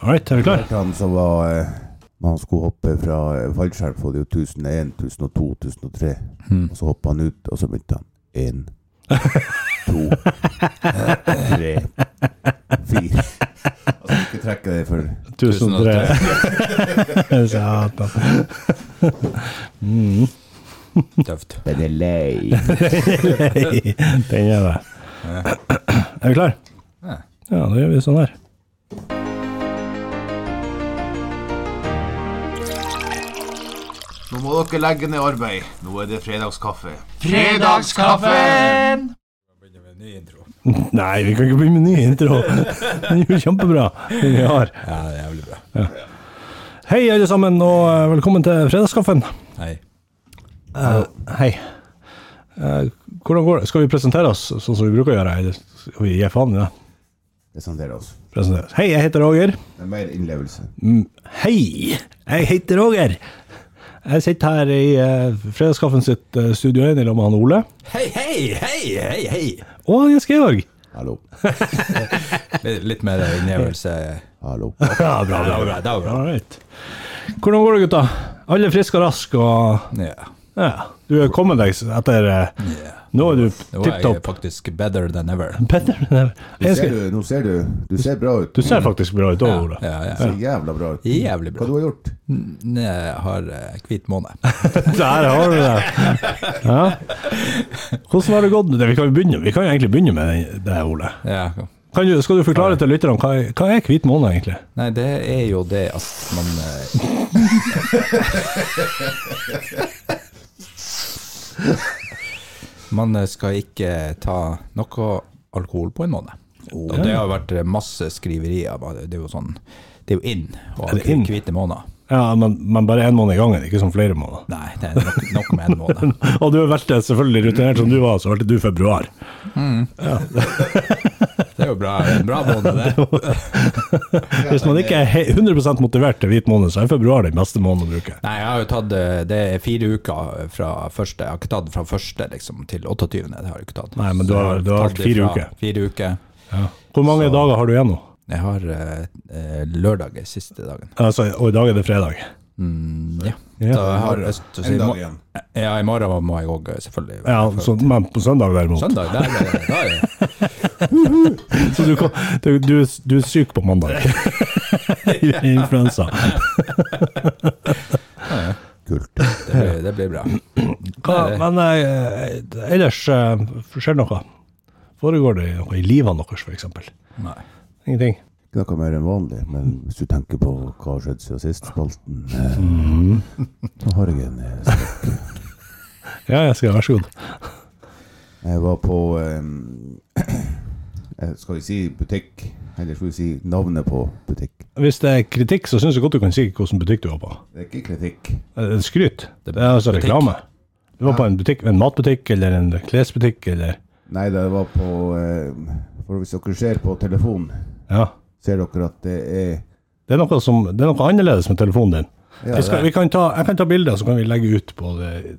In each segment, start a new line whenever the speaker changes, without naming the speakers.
All right, er vi klar?
Han som var eh, Når han skulle hoppe fra eh, fallskjerm, så var det jo 1001, 1002, 1003.
Hmm.
Og så hoppa han ut, og så begynte han. Én, to, tre, fire. Altså, ikke trekke det for
1003. Satan.
Tøft.
Den er lei.
Hei, Den er det. Er vi klar?
Ja.
Ja, da gjør vi sånn her.
Nå må dere legge ned arbeid. Nå er det fredagskaffe.
Fredagskaffen!
Begynner med en ny intro.
Nei, vi kan ikke begynne med ny intro. Den er jo kjempebra. Den vi har.
Ja, det er jævlig bra.
Hei, alle sammen, og eh, velkommen til Fredagskaffen.
Hei.
Hei. Eh, Hvordan går det? Skal vi presentere oss sånn som vi bruker å gjøre? eller Skal vi gi faen i det?
Presentere oss.
Presentere oss. Hei, jeg heter Roger.
altså. Det er mer innlevelse.
Hei, jeg heter Roger. Jeg sitter her i eh, Fredagskaffen sitt eh, Studio 1 i lag med han Ole.
Hei, hei, hei, hei, hei.
Og Jens Georg.
Hallo.
Litt, litt mer innlevelse.
Hallo.
Ja, bra,
Det var bra. Det var bra.
All right. Hvordan går det, gutta? Alle friske og raske og
Ja.
ja, Du er kommet deg etter eh, Nå er du
Nå
tipp
er jeg
topp.
faktisk better than ever.
Petter,
Du
jeg
ser,
skal,
du, nå ser du. Du ser bra ut.
du ser faktisk bra ut òg, Ole.
Ja, ja.
ser jævla bra ut.
Jævlig
Hva
bra.
du har gjort?
N- Jeg har eh, hvit måned.
Der har du det. Ja. Hvordan har det gått? med det? Vi kan jo begynne, vi kan jo egentlig begynne med den- det, Ole.
Ja.
Kan du, skal du forklare til lytterne hva, er- hva er hvit måne, egentlig?
Nei, det er jo det at man eh, Man eh, skal ikke ta noe alkohol på en måned. Og det har vært masse skriverier. bare Det er jo sånn Det er jo in å ha
Er det inn?
hvite måneder.
Ja, Men, men bare én måned i gangen, ikke som flere måneder.
Nei, det er nok, nok med en måned.
Og du valgte selvfølgelig rutinert som du var, så valgte du februar.
Det er jo bra, en bra måned, det.
Hvis man ikke er he- 100 motivert til hvit måned, så er februar den beste måneden å bruke.
Nei, jeg har jo tatt eh, Det er fire uker fra første. Jeg har ikke tatt fra første liksom, til 28. Det har jeg ikke tatt.
Nei, men du
Så jeg
har- du har
tatt
vært fire
ifra
uker.
Fire uker.
Hvor mange dager har du igjen nå?
Jeg har eh, eh, lørdag er siste dagen.
Altså, og i dag er det fredag.
Ja.
Ja.
Så jeg har lyst til å si
En dag
må-
igjen.
Ja, i morgen må jeg òg selvfølgelig være
Ja,
på
så, men på søndag derimot.
Søndag, der, der, der, der.
Så du, kan- du, du, du er syk på mandag. Influensa.
Kult.
Det, blir, det blir bra.
Hva- Men eh, ellers eh, skjer det noe? Foregår det noe i livet deres, for eksempel?
Nei.
Ingenting?
Ikke noe mer enn vanlig, men hvis du tenker på hva har skjedd siden sist, spalten eh,
Mhm.
Så har jeg en eh, spalt.
Ja, jeg skal, vær så god.
Jeg var på eh, eh, Skal vi si butikk? Eller skal vi si navnet på butikk?
Hvis det er kritikk, så syns jeg godt du kan si hvilken butikk du var på.
Det er ikke kritikk.
Er det Skryt. Det er altså
Butikk.
reklame. Du var på en butikk, en matbutikk eller en klesbutikk eller
Nei, det var på eh, For hvis dere ser på telefonen,
Ja.
ser dere at det er
Det er noe, som, det er noe annerledes med telefonen din.
Ja,
jeg, skal, vi kan ta, jeg kan ta bilder, så kan vi legge ut på det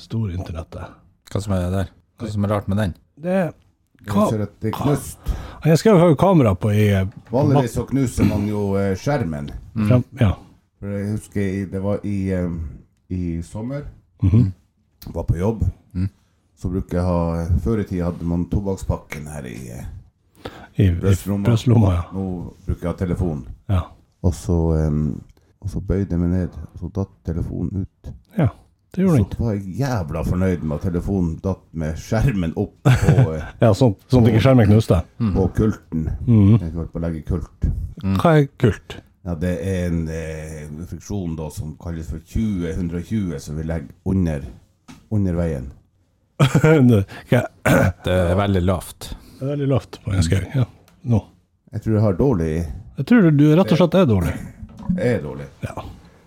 store internettet.
Hva som er det der? Hva som er rart med den?
Det
Man
hva,
ser at det er knust.
Jeg skrev jo kamera på i eh,
Vanligvis så knuser man jo eh, skjermen.
frem, Ja.
For jeg husker i- det var i, eh, i sommer. Var på jobb. Så bruker jeg ha Før i tida hadde man tobakkspakken her i eh,
I, i
brystlomma.
brystlomma, ja.
Nå bruker jeg ha telefon.
ja.
Og så, eh, og så bøyde jeg meg ned, og så datt telefonen ut.
Ja. Det gjorde
Så
den.
var jeg jævla fornøyd med at telefonen datt med skjermen opp på, eh,
Ja, sånn sånn at ikke skjermen knuste.
på kulten. Jeg holdt på å legge kult.
Hva er kult?
Ja, det er en eh, friksjon da som kalles for 20-120, som vi legger under, under veien.
det er
Det er veldig lavt.
veldig lavt på en skau. Ja. Nå.
Jeg tror jeg har dårlig
Jeg tror du rett og slett er dårlig.
Jeg er dårlig.
Ja.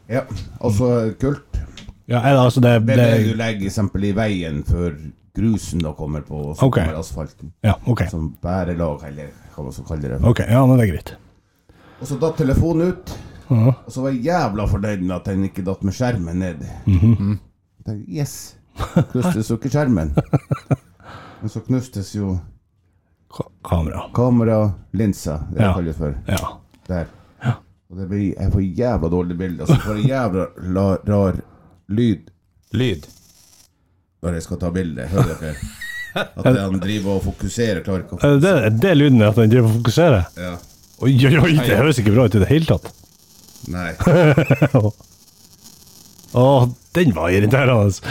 Ja, altså kult.
Ja, er det, altså det,
Det
det,
er det du legger eksempel i veien før grusen da kommer på, og så
Ok.
kommer asfalten.
Ja, ok.
Som bærelag, eller hva man skal kalle det.
Ok, ja, men det er greit.
Og så datt telefonen ut. Og så var jeg jævla fornøyd med at den ikke datt med skjermen ned.
Mhm.
Mm. Jeg tenkte, Yes! Knustes jo ikke skjermen. Men så knustes jo
Ka kamera.
kameralinsa, det
Ja.
kalles for.
Ja.
Der. Og det blir, jeg får jævla dårlig bilde. Altså, for en jævla la, rar lyd
Lyd.
når jeg skal ta bilde. Hører dere? At han driver og fokuserer, klarer ikke å
Eh, Det, det er lyden at den driver og fokuserer.
ja.
Oi, oi, oi, det høres ikke bra ut i det hele tatt.
Nei.
Å, den var irriterende. altså.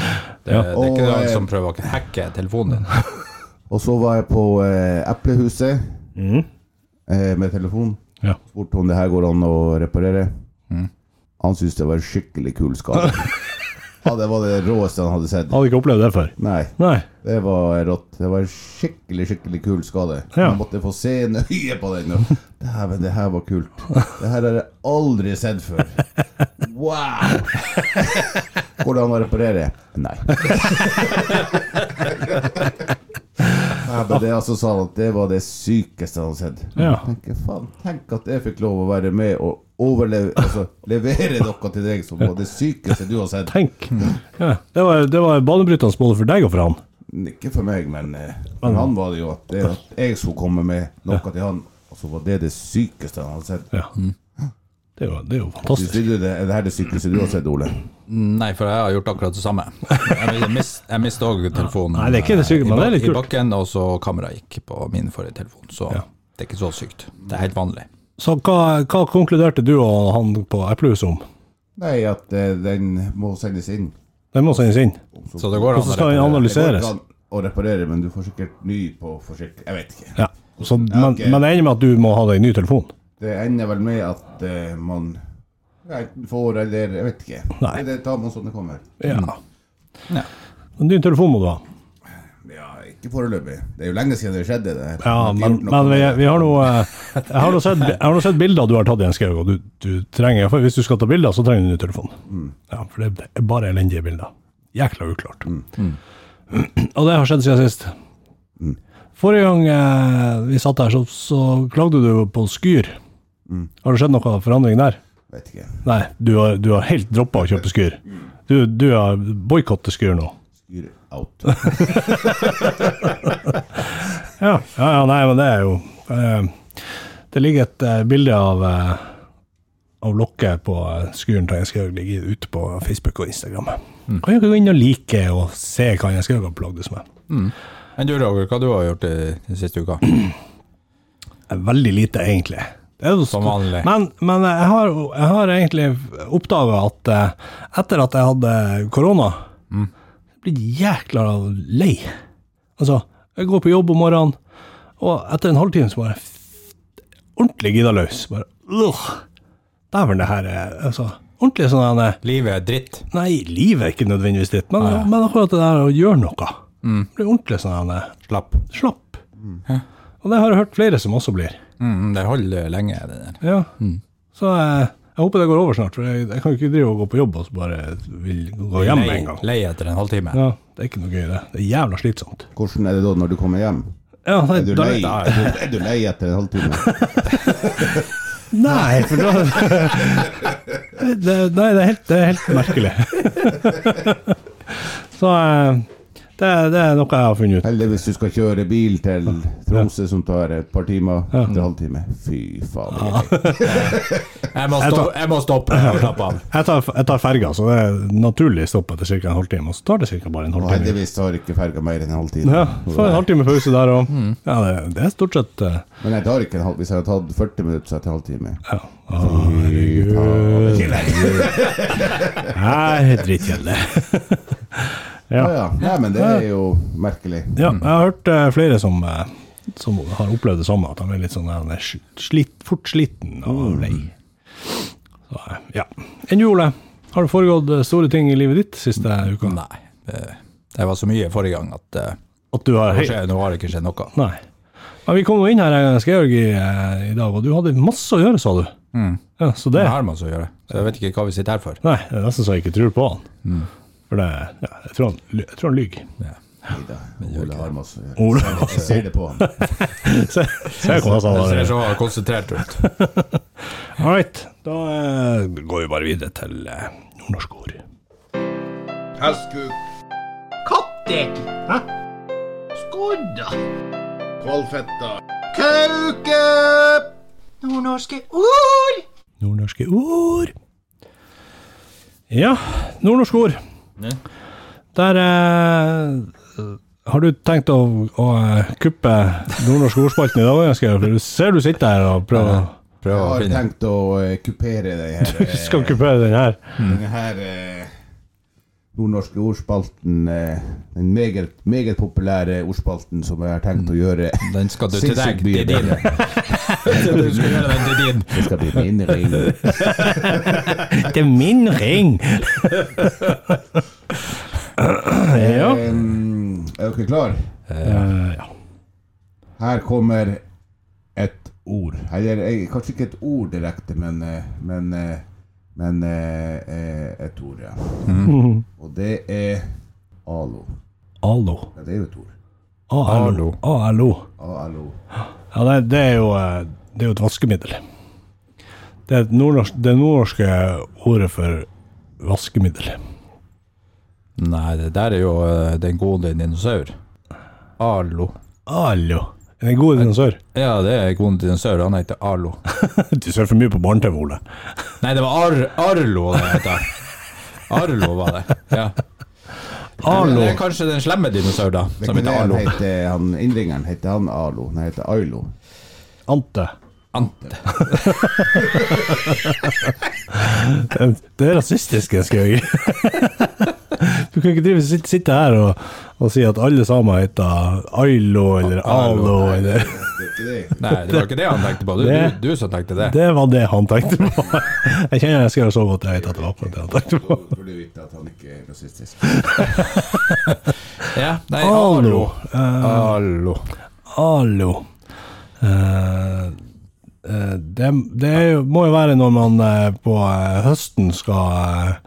Det, det er ikke
Og,
noen
eh,
som prøver å hacke telefonen din.
Og så var jeg på eh, Eplehuset eh, med telefon.
Ja.
Spurte om det her går an å reparere. Han syntes det var en skikkelig kul skade. ja, det var det råeste han hadde sett.
Hadde ikke opplevd det før.
Nei,
Nei.
det var rått. Det var en skikkelig, skikkelig kul skade.
Ja.
Jeg måtte få se nøye på den. og, Dæven, det her var kult. Det her har jeg aldri sett før. Wow! Hvordan å reparere? Nei. Nei, men det altså sa han at det var det sykeste han har sett.
Ja.
Jeg tenker, faen, tenk at jeg fikk lov å være med og overleve, altså, levere noe til deg som var det sykeste du har sett.
Tenk.
Mm.
Ja, det var, det var banebrytende både for deg og for han.
Ikke for meg, men eh, for han var det jo at, det, at jeg skulle komme med noe til han, og så var det det sykeste han hadde sett.
Ja. Det er jo, det er jo
Syns
fantastisk.
du det, er det her det sykeste du har sett, Ole?
Nei, for jeg har gjort akkurat det samme. Jeg mis- jeg mista òg telefonen
Nei, det er ikke det syke,
eh, i
men det er
bak-
litt
i
kult.
bakken, og så kameraet gikk på min forrige telefon. Så det er ikke så sykt. Det er helt vanlig.
Så hva, hva konkluderte du og han på Eplehuset om?
Nei, at eh, den må sendes inn.
Den må sendes inn.
Så det går
Og
an
så
å
skal den
reparere.
Det går
analyseres.
ikke an å reparere, men du får sikkert ny på forsikring. Jeg vet ikke.
Ja. Så, men,
ok.
men det ender med at du må ha deg ny telefon.
Det ender vel med at eh, man enten får eller Jeg vet ikke.
Nei.
Det tar man som det kommer.
Ja.
Ja.
Men Mm. Ny telefon må du ha.
Ja, ikke foreløpig. Det er jo lenge siden det skjedde. Det her.
Ja,
Jeg har
men,
ikke gjort noe
men vi,
med det.
vi har nå eh, Jeg har nå sett, jeg har nå sett bilder du har tatt i en skau, og du, du trenger for Hvis du skal ta bilder, så trenger du ny telefon.
Mm.
Ja, for det er bare elendige bilder. Jækla uklart.
Mm.
Og det har skjedd siden sist.
Mm.
Forrige gang eh, vi satt her, så, så klagde du jo på Skyr.
Mm.
Har det skjedd noe forandring der?
Vet ikke.
Nei, du har, du har helt droppa å kjøpe Skyr. Du, du har boikottet Skyr nå.
Skyr out.
Ja, ja, ja nei, men det er jo eh, Det ligger et eh, bilde av, eh, av lokket på eh, skuren til Anja Skaug ligger ute på Facebook og Instagram. Kan dere gå inn og like og se hva Anja Skaug har plagdes med?
Men du Roger, hva du har gjort i- i siste uka?
Eh, Veldig lite, egentlig. Det er jo
Som
sto-
vanlig.
Men, men jeg, har, jeg har egentlig oppdaga at eh, etter at jeg hadde korona,
Mm.
blitt jækla lei. Altså, jeg går på jobb om morgenen, og etter en halvtime så bare f- ordentlig gidda løs. Bare øh, Dæven, det her er altså, ordentlig sånn her, eh,
Livet er dritt.
Nei, livet er ikke nødvendigvis ditt, men, men akkurat det der å gjøre noe. Blir ordentlig sånn her, eh,
Mm. Slapp.
slapp. Og det har jeg hørt flere som også blir.
Mm, det holder lenge, det der.
Ja.
Mm.
Så jeg, jeg håper det går over snart, for jeg, jeg kan jo ikke drive og gå på jobb og så bare vil gå hjem med en gang.
Lei etter en halvtime.
Ja, det er ikke noe gøy, det. Det er jævla slitsomt.
Hvordan er det da når du kommer hjem?
Ja, nei,
Er du
da-
lei, er du, er du lei etter en halvtime?
Nei, for da det, Nei, det er helt, det er helt merkelig. Så eh, det, det er noe jeg har funnet ut.
Eller hvis du skal kjøre bil til Tromsø, som tar et par timer til halvtime. Fy faen. det er gøy.
Jeg, må stoppe, jeg må stoppe og slappe av.
Jeg tar, jeg tar ferga, så det er naturlig stopp etter ca. en halvtime. Og så tar det ca. bare en
Og
halvtime.
heldigvis tar ikke ferga mer enn en halvtime.
Ja, så en halvtime pause der òg.
Mm.
Ja, det, det er stort sett eh,
Men jeg tar ikke en halv, hvis jeg hadde tatt 40 minutter, så er det en halvtime.
Ja. Herregud. Nei, drittkjedelig.
Ja, ja. Nei, men det er jo merkelig.
Ja, jeg har hørt eh, flere som, eh, som har opplevd det samme, at de er litt sånn eh, sl- slitt, fort sliten og lei. Så, eh, ja. Enn du, Ole? Har det foregått eh, store ting i livet ditt siste uka?
Nei. Det, det var så mye forrige gang at eh,
At du har
nå skjer- nå har det ikke skjedd noe.
Nei. Men vi kom jo inn her, eh, Skaug, i, eh, i dag, og du hadde masse å gjøre, sa du. Ja, så det
Det har man så å gjøre. Så jeg vet ikke hva vi sitter her for.
Nei, det er nesten så jeg ikke tror på han. For det, ja, jeg tror han, ly- jeg tror han lyver.
Ja.
Ida, Ole har masse
Ole.
Jeg ser det på han.
Se, se hva han sa
Det
der.
ser så konsentrert ut.
All right, da eh, går vi bare videre til eh, nordnorske ord.
Hestkuk,
Kattek! Hæ? Skodda!
kvalfetta, kauke!
Nordnorske ord!
nordnorske ord. Ja, nordnorske ord.
Ja.
Der eh, Har du tenkt å, å eh, kuppe nordnorske ordspalten i dag, Asgeir? For du ser du sitter her og prøver å
Prøv
Jeg
å
har
finne
tenkt å eh, kupere det her.
Du skal kuppere den her.
Mm.
Denne her eh, nordnorske ordspalten, eh, den meget, meget populære ordspalten som jeg har tenkt å gjøre.
Mm. Den skal du til
Sinnssykt
deg. Det
mye
er din. Du skal gjøre den til din.
Det skal bli min ring.
Det er min ring! ja.
Eh, er dere klar?
Eh, ja.
Her kommer et ord. Eller eh, kanskje ikke et ord direkte, men, eh, men, eh, men eh, eh, et ord, ja.
Mm.
Og det er alo.
Alo.
Ja, det er jo et ord.
A-L-O. A-L-O.
Alo.
Ja, det, det, er jo, eh, det er jo et vaskemiddel. Det er et nordnorsk- det nordnorske ordet for vaskemiddel.
Nei, det der er jo eh, den gode dinosaur. Alo.
Alo. Er det en god dinosaur?
Ja, det er gode dinosaur. Han heter Alo.
Du ser for mye på barne-TV, Ole.
Nei, det var Ar Arlo det heter. Arlo var det. Ja.
Alo.
Det er kanskje den slemme dinosaur, da.
Det
Som
kan
heter
være
Arlo.
han heter, han, innringeren heter han Alo. Han heter Ailo.
Ante.
Ante.
Det det er rasistisk, jeg skal gjøre. Du kan ikke drive, sitte, sitte her og, og si at alle samer heter Ailo eller Alo eller
Det er ikke det.
Nei, det var ikke det han tenkte på. Du,
Det-
du, du som tenkte det.
Det var det han tenkte på. Jeg kjenner jeg skal gjøre så godt jeg vet at det var akkurat det han tenkte på.
Så burde du vite at han ikke er rasistisk.
Ja, nei,
Arlo.
Arlo. Arlo.
Alo. Eh, eh, det det er, jo- må jo være når man eh, på eh, høsten skal eh,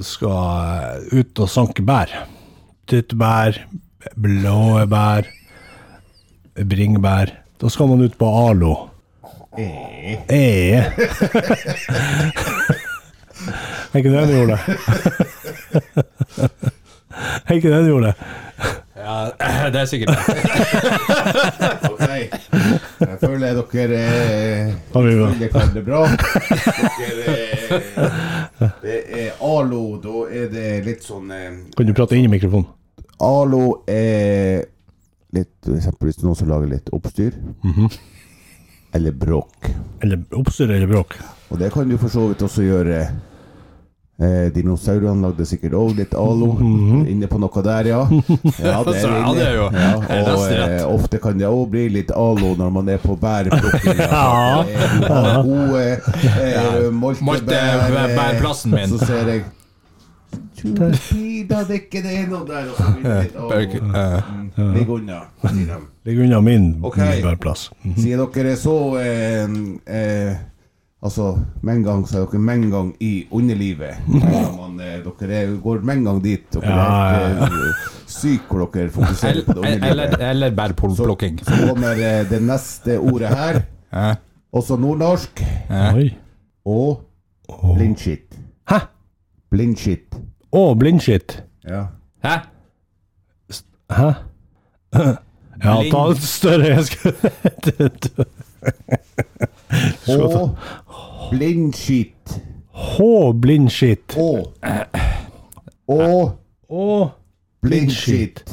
skal eh, ut og sanke bær. Tyttebær, blåe bær, bringebær. Da skal man ut på Alo. Eh. er ikke det du gjorde? er ikke det du gjorde?
Ja, det er sikkert det.
Ok. Jeg føler dere eh,
Har vi bra.
føler kan det bra. Dere, eh, det er Alo. Da er det litt sånn eh,
Kan du prate inn i mikrofonen?
Alo er litt For eksempel hvis det er noen som lager litt oppstyr.
Mhm.
Eller bråk.
Eller oppstyr eller bråk?
Og det kan du for så vidt også gjøre. Eh, dinosaurene lagde sikkert òg litt alo. Inne på noe der, ja. Ja,
Mhm. Så ja, det er jo-
Ja,
det
og
er nesten rett.
eh, ofte kan det òg bli litt alo når man er på bærplukking. Ja. Du har gode eh,
Moltebærplassen min.
Så ser jeg Tjupida, det er ikke det noe der. Og så blir det litt alo. Ligg unna, sier de.
Ligg unna min
Ok.
bærplass.
Sier dere så eh, eh, Altså, med en gang så er dere med en gang i underlivet. Ja, Man, eh, dere er, går med en gang dit. Dere
Ja,
er helt, eh, syke hvor dere fokuserer på det
Eller, eller,
underlivet.
eller bærplukking.
Så kommer eh, det neste ordet her.
Ja.
Også nordnorsk.
Oi.
Og blindskitt.
Hæ?
Blindskitt.
Å, blindskitt.
Ja.
Hæ?
Hæ? Ja,
Blind.
ta en større eske.
Og blindskitt.
H, blindskitt.
Og
Eh,
Og
Å,
blindskitt.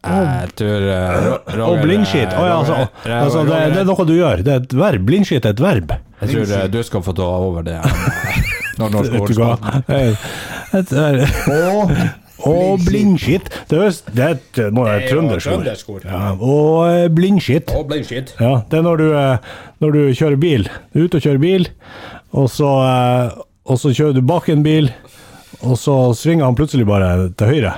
Jeg tror eh, Ro-
å,
Roger,
blindskitt.
eh,
Å ja, altså,
Roger-
altså det,
Roger,
det er noe du gjør. Det er et verb. Blindskitt er et verb.
Jeg tror eh, du skal få ta over det. eh, Når norsk
Vet du hva?
ordspråk
Eh, et- eh,
Og
Å, blindskitt. Det, er jo- det, er et- må være et trøndersk ord. Ja, og eh, blindskitt.
Og blindskitt.
Ja, det er når du, eh, når du kjører bil. Du er ute og kjører bil, og så, eh, og så kjører du bak en bil, og så svinger han plutselig bare til høyre.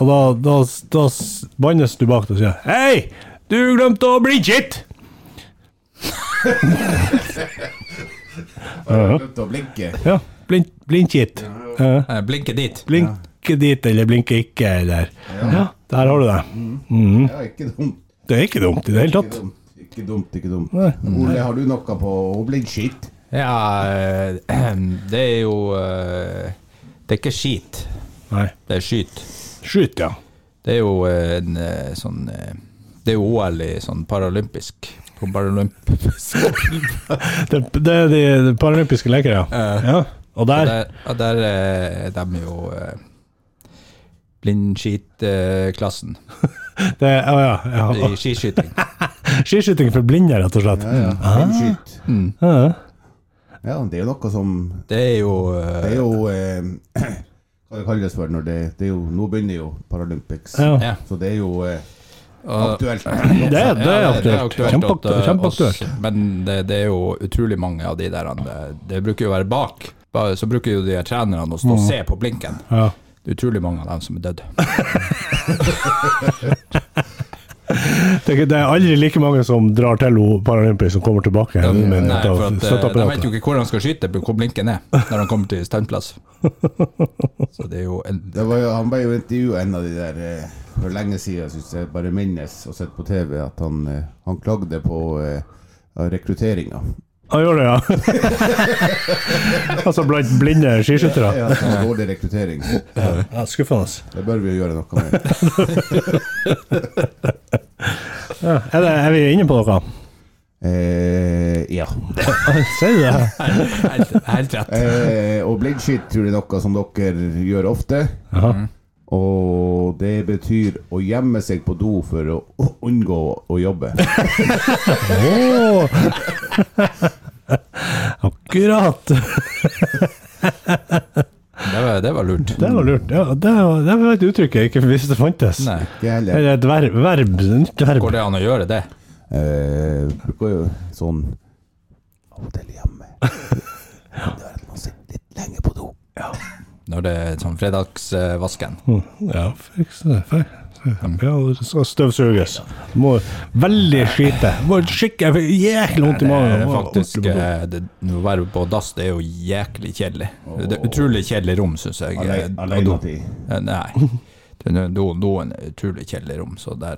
Og da, da, da s- bannes du bak deg og sier 'Hei, du glemte å blindskitt!'
Slutt å blinke.
Ja, blind, blindskitt. Ja,
Eh, Blinke dit.
blinke dit, eller blinke ikke, eller Ja, der har du det.
Ja, ikke dumt.
Det er ikke dumt i det hele
Ikke
tatt.
dumt, ikke dumt. Ikke dumt. Ole, har du noe på å bli skitt?
Ja, eh, det er jo eh, Det er ikke skit,
Nei.
det er skyt.
Skyt, ja.
Det er jo eh, en eh, sånn eh, Det er jo OL i sånn paralympisk På Paralympisk.
Det, det er de, de paralympiske leker, ja.
Eh,
ja. Og der
Der, ja, der er de jo eh, blindskitklassen
det, Å ja. ja.
i skiskyting.
Skiskyting for blinde, rett og slett.
Ja, Innskyt.
Ja.
ja, det er jo noe som
Det er jo eh,
Det er jo eh, Hva det kalles for når det, det er jo, Nå begynner jo Paralympics,
Ja.
Ja.
så det er jo eh,
og-
aktuelt.
Det, er- det er
Ja,
aktuelt.
at, eh,
Kjempeaktuelt.
oss- Men det, det er jo utrolig mange av de der Det, det bruker jo å være bak. Bare, så bruker jo de her trenerne å stå
Mm.
og se på blinken.
Ja.
Det er utrolig mange av dem som er dødd.
Det, er- det er aldri like mange som drar til o- Paralympics som kommer tilbake.
De,
men
nei,
av
for at, eh, de vet
støtteapparatet.
jo ikke hvor de skal skyte, hvor blinken er, når de kommer til standplass. Så det er jo en,
Det var jo, han ble jo intervjua en av de der eh, for lenge siden, syns jeg bare minnes, og sett på TV, at han, eh, han klagde på eh, rekrutteringa.
Han gjør det, ja. altså blant blinde skiskyttere.
Ja, det var dårlig rekruttering.
Ja, Skuffende.
Det bør vi jo gjøre noe med.
Ja. Er, det, er vi inne på noe?
Eh, ja.
Sier du det?
helt, helt rett.
Eh, og blindskyt tror jeg er noe som dere gjør ofte.
Jaha.
Og det betyr å gjemme seg på do for å å unngå å jobbe.
Åh. Akkurat.
Det var, det var lurt.
Det var lurt. Ja, det, var, det var et uttrykk jeg ikke visste fantes.
Nei.
Ikke heller.
Eller et verb. verb nytt verb.
Går det an å gjøre det?
Eh, bruker jo sånn av og til hjemme. Det er at man sitter litt lenge på do.
Når det er sånn fredagsvasken.
Ja, fiks det. Fe- Ja, det skal støvsuges. Må veldig skite. Må skikk- Jeg fikk jæklig vondt i
Det
magen.
er
Må-
faktisk eh, det, Å være på dass det er jo jæklig kjedelig. Det er utrolig kjedelig rom, syns jeg. eh,
Alene-
og do.
Alenetid.
Eh, Nei. Den er- do- Doen er utrolig kjedelig rom, så der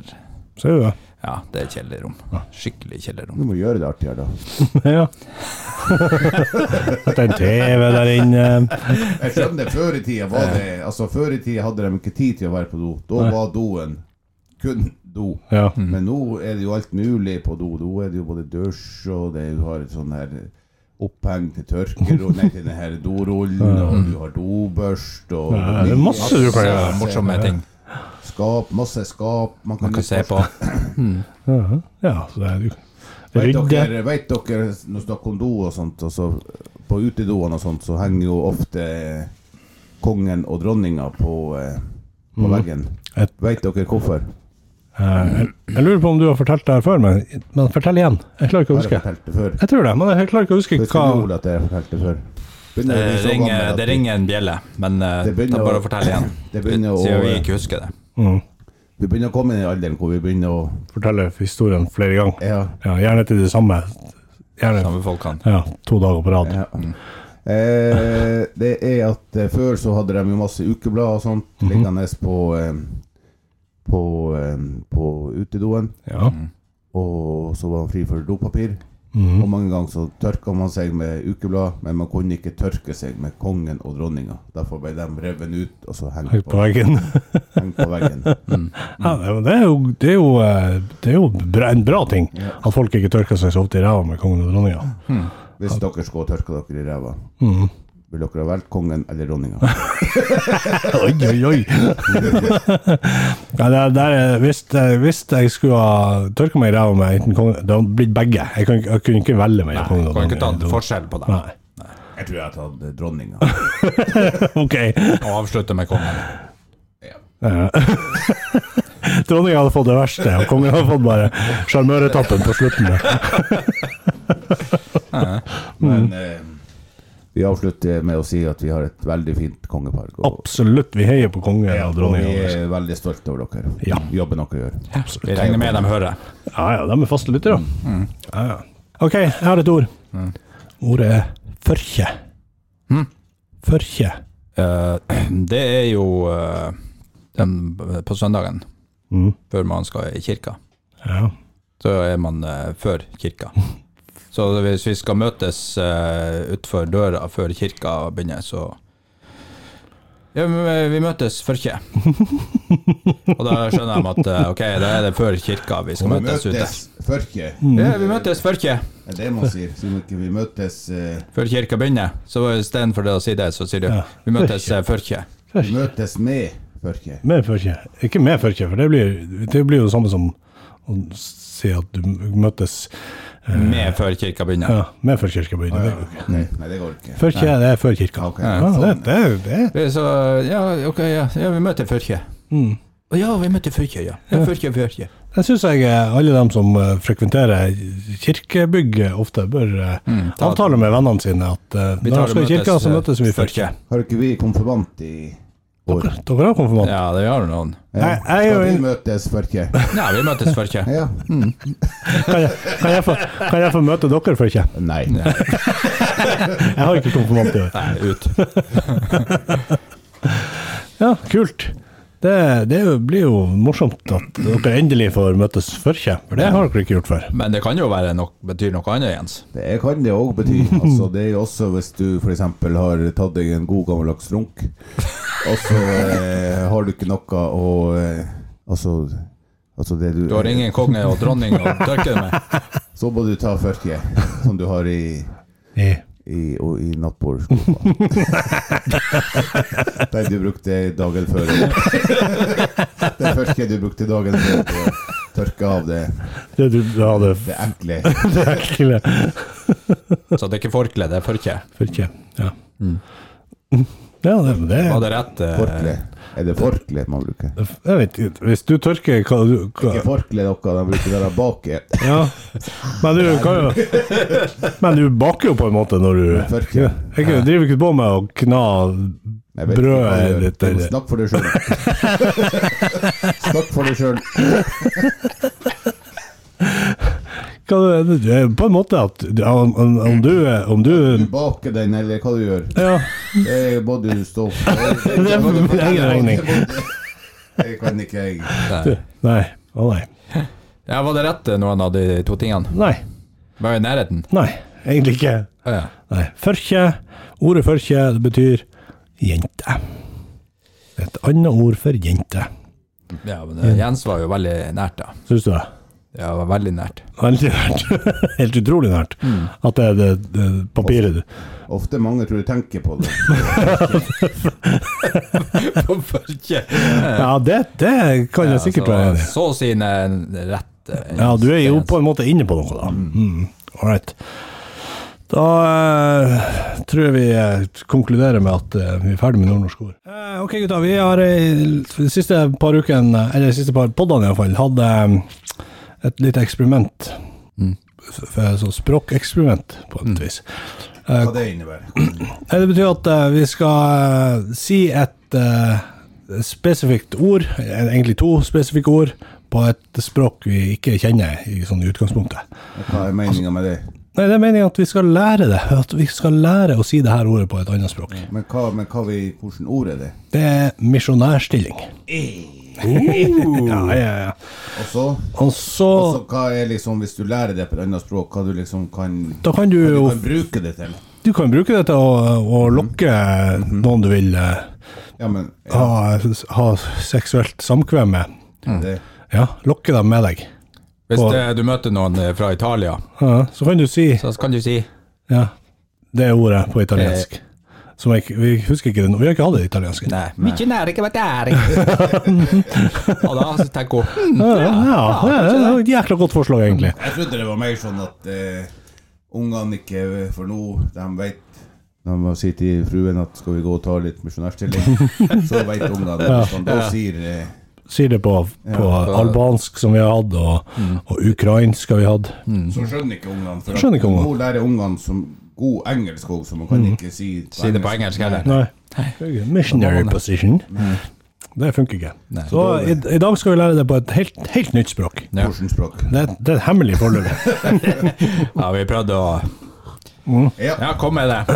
Ser du det?
Ja, det er kjedelig rom. Skikkelig kjedelig
Du
rom.
må gjøre det artigere, da.
Ja. At det er en TV der inne.
Jeg skjønner, før i tida var det Altså, før i tida hadde de ikke tid til å være på do. Da var doen kun do.
Ja.
Men nå er det jo alt mulig på do. Nå er det jo både dusj, og det, du har et sånn her oppheng til tørkerull, nei, til den her dorullen, og du har dobørst, og
Ja, det er masse du kan gjøre.
Så eh, Morsomme ting
skap, masse skap. Man kan,
man kan se på.
Ja, så det er jo
Vet
Rydde.
dere, vet dere når vi snakker om do og sånt, og så på utedoene og sånt, så henger jo ofte kongen og dronninga på, eh, på veggen.
Et-
Vet dere hvorfor?
Eh, Jeg lurer på om du har fortalt det her før, men, men fortell igjen. Jeg klarer ikke å
Har jeg
huske.
fortalt det før?
Jeg tror det, men jeg klarer ikke å huske
Husker du,
hva
Ole, at jeg har fortalt det før? Begynner å bli
Det
så gammel
ringer,
at
det
vi-
ringer en bjelle, men eh,
Det begynner
da bare
å-
fortell igjen.
det begynner å-
Siden vi ikke husker det.
Mm.
Vi begynner å komme i den alderen hvor vi begynner å
Fortelle historien flere ganger.
Ja.
Ja, gjerne til det samme. Gjerne
Samme folkene.
ja, to dager på rad.
ja. Eh, det er at eh, før så hadde de jo masse ukeblad og sånt liggende på, eh, på, eh, på utedoen.
Ja.
og så var han fri for dopapir.
Mhm.
Og mange ganger så tørka man seg med ukeblad, men man kunne ikke tørke seg med kongen og dronninga. Derfor ble de revet ut og så hengt
Høyt på
på,
veggen.
hengt på veggen.
Ja, det er jo- det er jo, det er jo, eh, det er jo bra, en bra ting at folk ikke tørker seg så ofte i ræva med kongen og dronninga.
Hvis dere skulle tørke dere i ræva,
Mhm.
ville dere ha valgt kongen eller dronninga?
Oi, oi, oi! ja, det er, det er, hvis, eh, hvis jeg skulle ha tørka meg i ræva med enten kongen Det hadde blitt begge. Jeg, kan, ikke- jeg kunne ikke velge mellom kongen og
Kan ikke ta
dronninga.
forskjell på dem
Nei.
Jeg tror jeg hadde tatt eh, dronninga.
Ok.
og avslutte med kongen.
Dronninga hadde fått det verste, og kongen hadde fått bare sjarmøretappen på slutten. der.
Men
Mhm.
eh, vi avslutter med å si at vi har et veldig fint kongepark. Og,
Absolutt, vi heier på kongen og
og vi
dronninga.
er veldig stolte over dere.
Ja.
Jobben dere gjør.
Vi regner med de hører.
Ja, ja, de er faste lyttere. Ja, ja. OK, jeg har et ord. Ordet er førkje. Førkje.
Eh, det er jo eh, den, på søndagen,
Mm.
før man skal i kirka.
Ja.
Så er man eh, før kirka. Så hvis vi eh, skal møtes uh, utfor døra før kirka begynner, så Ja, men vi møtes før ikke. Og da skjønner de at eh, ok, da er det før kirka vi skal
Vi
møtes ute.
møtes førke.
Mhm.
Ja, vi møtes før ikke.
Det er det man sier. Sier man ikke 'vi møtes eh,
Før kirka begynner. Så istedenfor det å si det, så sier du vi møtes eh, før ikke.
Vi møtes med førke'?
Med førkje. Ikke med førkje, for det blir, det blir jo det samme som å si at du møtes
Med før kirka begynner.
ja, med førkje skal begynne. Det er jo ikke-
Nei, nei, det går ikke.
Førkje, det er før kirka.
Ok,
Ja, det, det, er jo det.
Vi- Så ja, ok, ja, ja vi møter før ikke. Å Ja, vi møter før ikke, ja. Mm. ja. Før ikke, før ikke.
Jeg syns jeg eh, alle dem som eh, frekventerer kirkebygget ofte, bør eh,
ta-
avtale med vennene sine at eh,
Vi
når
tar eh,
de skal i kirka, så møtes vi i
før
førkje.
ikke.
Har ikke vi konfirmant i år?
Dere har konfirmant?
Ja, det gjør noen.
Jeg, jeg er jo
Skal vi
inn-
møtes førke?
Nei, vi møtes før ikke.
Ja.
kan, jeg, kan, jeg få, kan jeg få møte dere førkje?
Nei.
Jeg har ikke konfirmant i år.
Nei, ut.
Ja, kult. Det, det er jo- blir jo morsomt at dere endelig får møtes førkje, for det har dere ikke gjort før.
Men det kan jo være nok, betyr noe annet, Jens.
Det kan det òg bety. Altså, det er jo også hvis du f.eks. har tatt deg en god gammeldags runk, og så eh, har du ikke noe å eh, Altså, altså det du,
Du har ingen konge og dronning å tørke det med.
Så må du ta førke, som du har i
I-
i, og i nattbordskuffen. Den du brukte dagen før. Den første du brukte dagen før til å tørke av det,
Det du du hadde
det ekle.
det ekle
Så det er ikke forkle, det er forkje.
førkje. Ja. Mm. Ja, det, det,
Var det rett? eh,
Forkle. Er det forkle man bruker?
Jeg vet ikke. Hvis du tørker hva du
Ikke
hva,
forkle dere, de bruker det der bak.
Ja. Men du kan jo Men du baker jo på en måte når du
Forkle.
Jeg kan- driver ikke på med å kna
Jeg vet ikke hva
Brødet
jeg
er
gjør.
litt-
Du må Snakk for deg sjøl. Snakk for deg sjøl.
hva det- det er På en måte at ja, om, om, om du Om
Du
du
baker den, eller hva du gjør.
Ja.
Det må du stå for.
Det er for min egen regning.
Det kan ikke jeg.
Nei. Å nei.
Ja, var det rett, eh, noen av de to tingene?
Nei.
Var jeg i nærheten?
Nei. Egentlig ikke.
Å Ja.
Nei. Førkje. Ordet førkje det betyr jente. Et annet ord for jente.
ja, men eh, Jens var jo veldig nært, da.
Syns du det?
Ja, var veldig nært.
Veldig nært. Helt utrolig nært. At det er det, det papiret du
Ofte mange tror du tenker på det.
På forkje.
Ja, det, det kan jeg sikkert være enig i.
så, Altså, så sine rett. eh,
Ja, du er jo
Jens.
på en måte inne på noe, da. Mm. All right. Da eh, tror jeg vi eh, konkluderer med at eh, vi er ferdig med nordnorsk ord. Eh, ok, gutta. Vi har eh, de siste par ukene, eller de siste par poddene iallfall, hatt eh, et lite eksperiment. Mm. F- f- Så språkeksperiment, på et vis.
Hva det innebærer.
Nei, Det betyr at eh, vi skal eh, si et eh, spesifikt ord, eh, egentlig to spesifikke ord, på et språk vi ikke kjenner i sånn i utgangspunktet.
Hva er meninga med det?
Nei, det er meningen at vi skal lære det. At vi skal lære å si det her ordet på et annet språk.
Men hva, men hva vi, hvordan ord er det?
Det er misjonærstilling. Eh. ja, ja, ja.
Og så
Og så
og så hva er liksom, Hvis du lærer det på et annet språk, hva du liksom kan,
Da kan du
du
jo
kan bruke det til?
Du kan bruke det til å, å lokke noen du vil eh,
Ja, men ja,
ha, ha seksuelt samkvem med.
det,
Ja, lokke dem med deg.
Hvis eh, du møter noen eh, fra Italia,
Ja, så kan du si
så kan du si
Ja, det er ordet på italiensk. Som jeg, ikke- vi husker ikke den, vi har ikke hatt det italienske.
Nei. Mykje nære ikke vært ære. Og da tenker hun
Ja,
hm,
ja, ja, det er et jækla godt forslag, egentlig.
Jeg trodde det var mer sånn at eh, ungene ikke For nå, de vet De må si til fruen at 'skal vi gå og ta litt misjonærstilling', så vet ungene det. Sånn, da sier eh,
Sier det på, på
Ja.
albansk, som vi har hatt, og, og ukrainsk har vi hatt.
Så skjønner ikke ungene. For
Skjønner ikke ungene.
Nå lærer ungene som god engelsk òg, så man kan ikke si
Si det på engelsk heller.
Nei. Missionary position. Det funker ikke. Så i, i dag skal vi lære det på et helt, helt nytt språk.
Ja.
Hvilket språk?
Det, er- det er hemmelig foreløpig.
Ja, vi prøvde å
Mm.
Ja.
Ja, kom med det.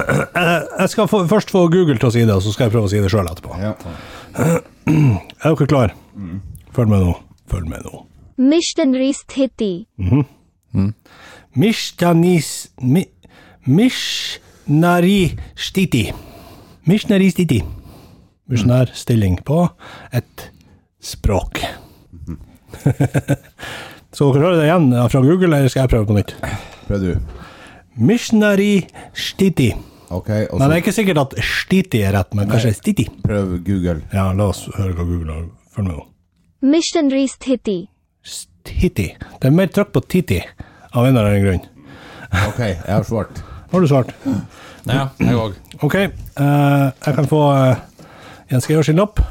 Jeg skal få, først få Google til å si det, og så skal jeg prøve å si det sjøl etterpå.
Ja.
Er dere klare? Følg med nå. Følg med nå.
missionary sthiti
Mishtanis mi, Mishnari stiti. Mishnari stiti. misjonærstilling på et språk. Så dere hører det igjen eh, fra Google, eller skal jeg prøve på nytt?
Prøv du.
Missionary stiti.
Ok, og
Nei, det
så
er ikke sikkert at stiti er rett, men kanskje stiti.
prøv Google.
Ja, la oss høre hva Google har. Følg med nå.
Missionary Sthiti.
Titi. Det er mer trykk på Titi, av en eller annen grunn.
Ok, jeg har svart.
Har du svart?
Ja, jeg òg.
Ok, eh, jeg kan få eh, Jens Georg sin lapp.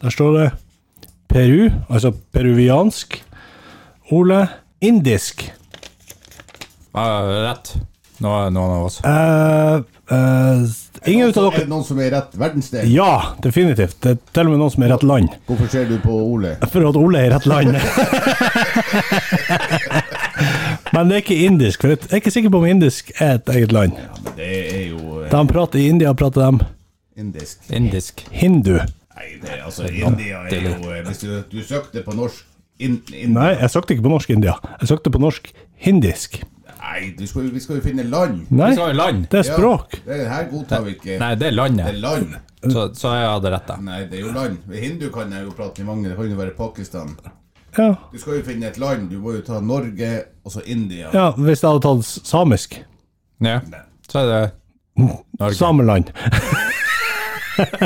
Der står det Peru, altså peruviansk. Ole, indisk.
Rett. Nå er det noen av oss.
Eh, eh, ingen ut av
Er
dere
det noen som er i rett verdensdel?
Ja, definitivt. Det er til og med noen som er i rett land.
Hvorfor ser du på Ole?
For at Ole er i rett land. Men det er ikke indisk, for jeg er ikke sikker på om indisk er et eget land.
Det er jo eh,
Da han prater i India, prater de
indisk.
Indisk.
hindu.
Nei, det, er- altså, India er jo eh, Hvis du, du søkte på norsk in, in,
Nei, jeg søkte ikke på norsk India. Jeg søkte på norsk hindisk.
Nei, du skal, jo- vi skal jo finne land.
Nei,
Vi skal i land.
det er språk.
Ja, det her godtar vi ikke.
Nei, det er
Det er
landet.
land.
Mm.
Så, så jeg hadde rett, da.
Nei, det er jo land. Hindu kan jeg jo prate i mange. Det kan jo være Pakistan.
Ja.
Du skal jo finne et land. Du må jo ta Norge, og så India.
ja, hvis jeg hadde tatt s- samisk.
Ja. Så er det Norge.
Sameland.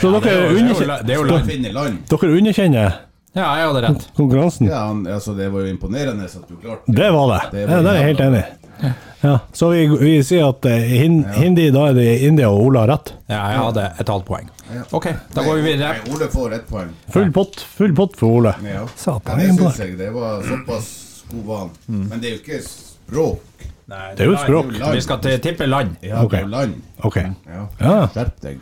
Så
Det er
dere,
jo- det er jo
underkjenner,
la- det er jo
Du
land.
finner land.
dere underkjenner
Ja, jeg hadde rett.
konkurransen?
Ja, han- altså, det var jo imponerende at du klarte
Det var det. Det,
Det var
ja, det er jeg helt enig i. Ja, så vi, vi sier at eh, hin, hindi, da er det India og Ola har rett.
Ja, jeg hadde et halvt poeng. OK, da går vi videre.
Nei, Ole får ett poeng.
Full pott, full pott for Ole.
Ja.
Satan,
Ja,
jeg er
det syns
imponert.
jeg. Det var såpass god van. Men det er jo ikke språk.
Det er jo et språk.
Vi skal til tippe land.
Ja, det er jo
Ok.
land.
Ok,
Ja.
Ja.
Skjerp deg.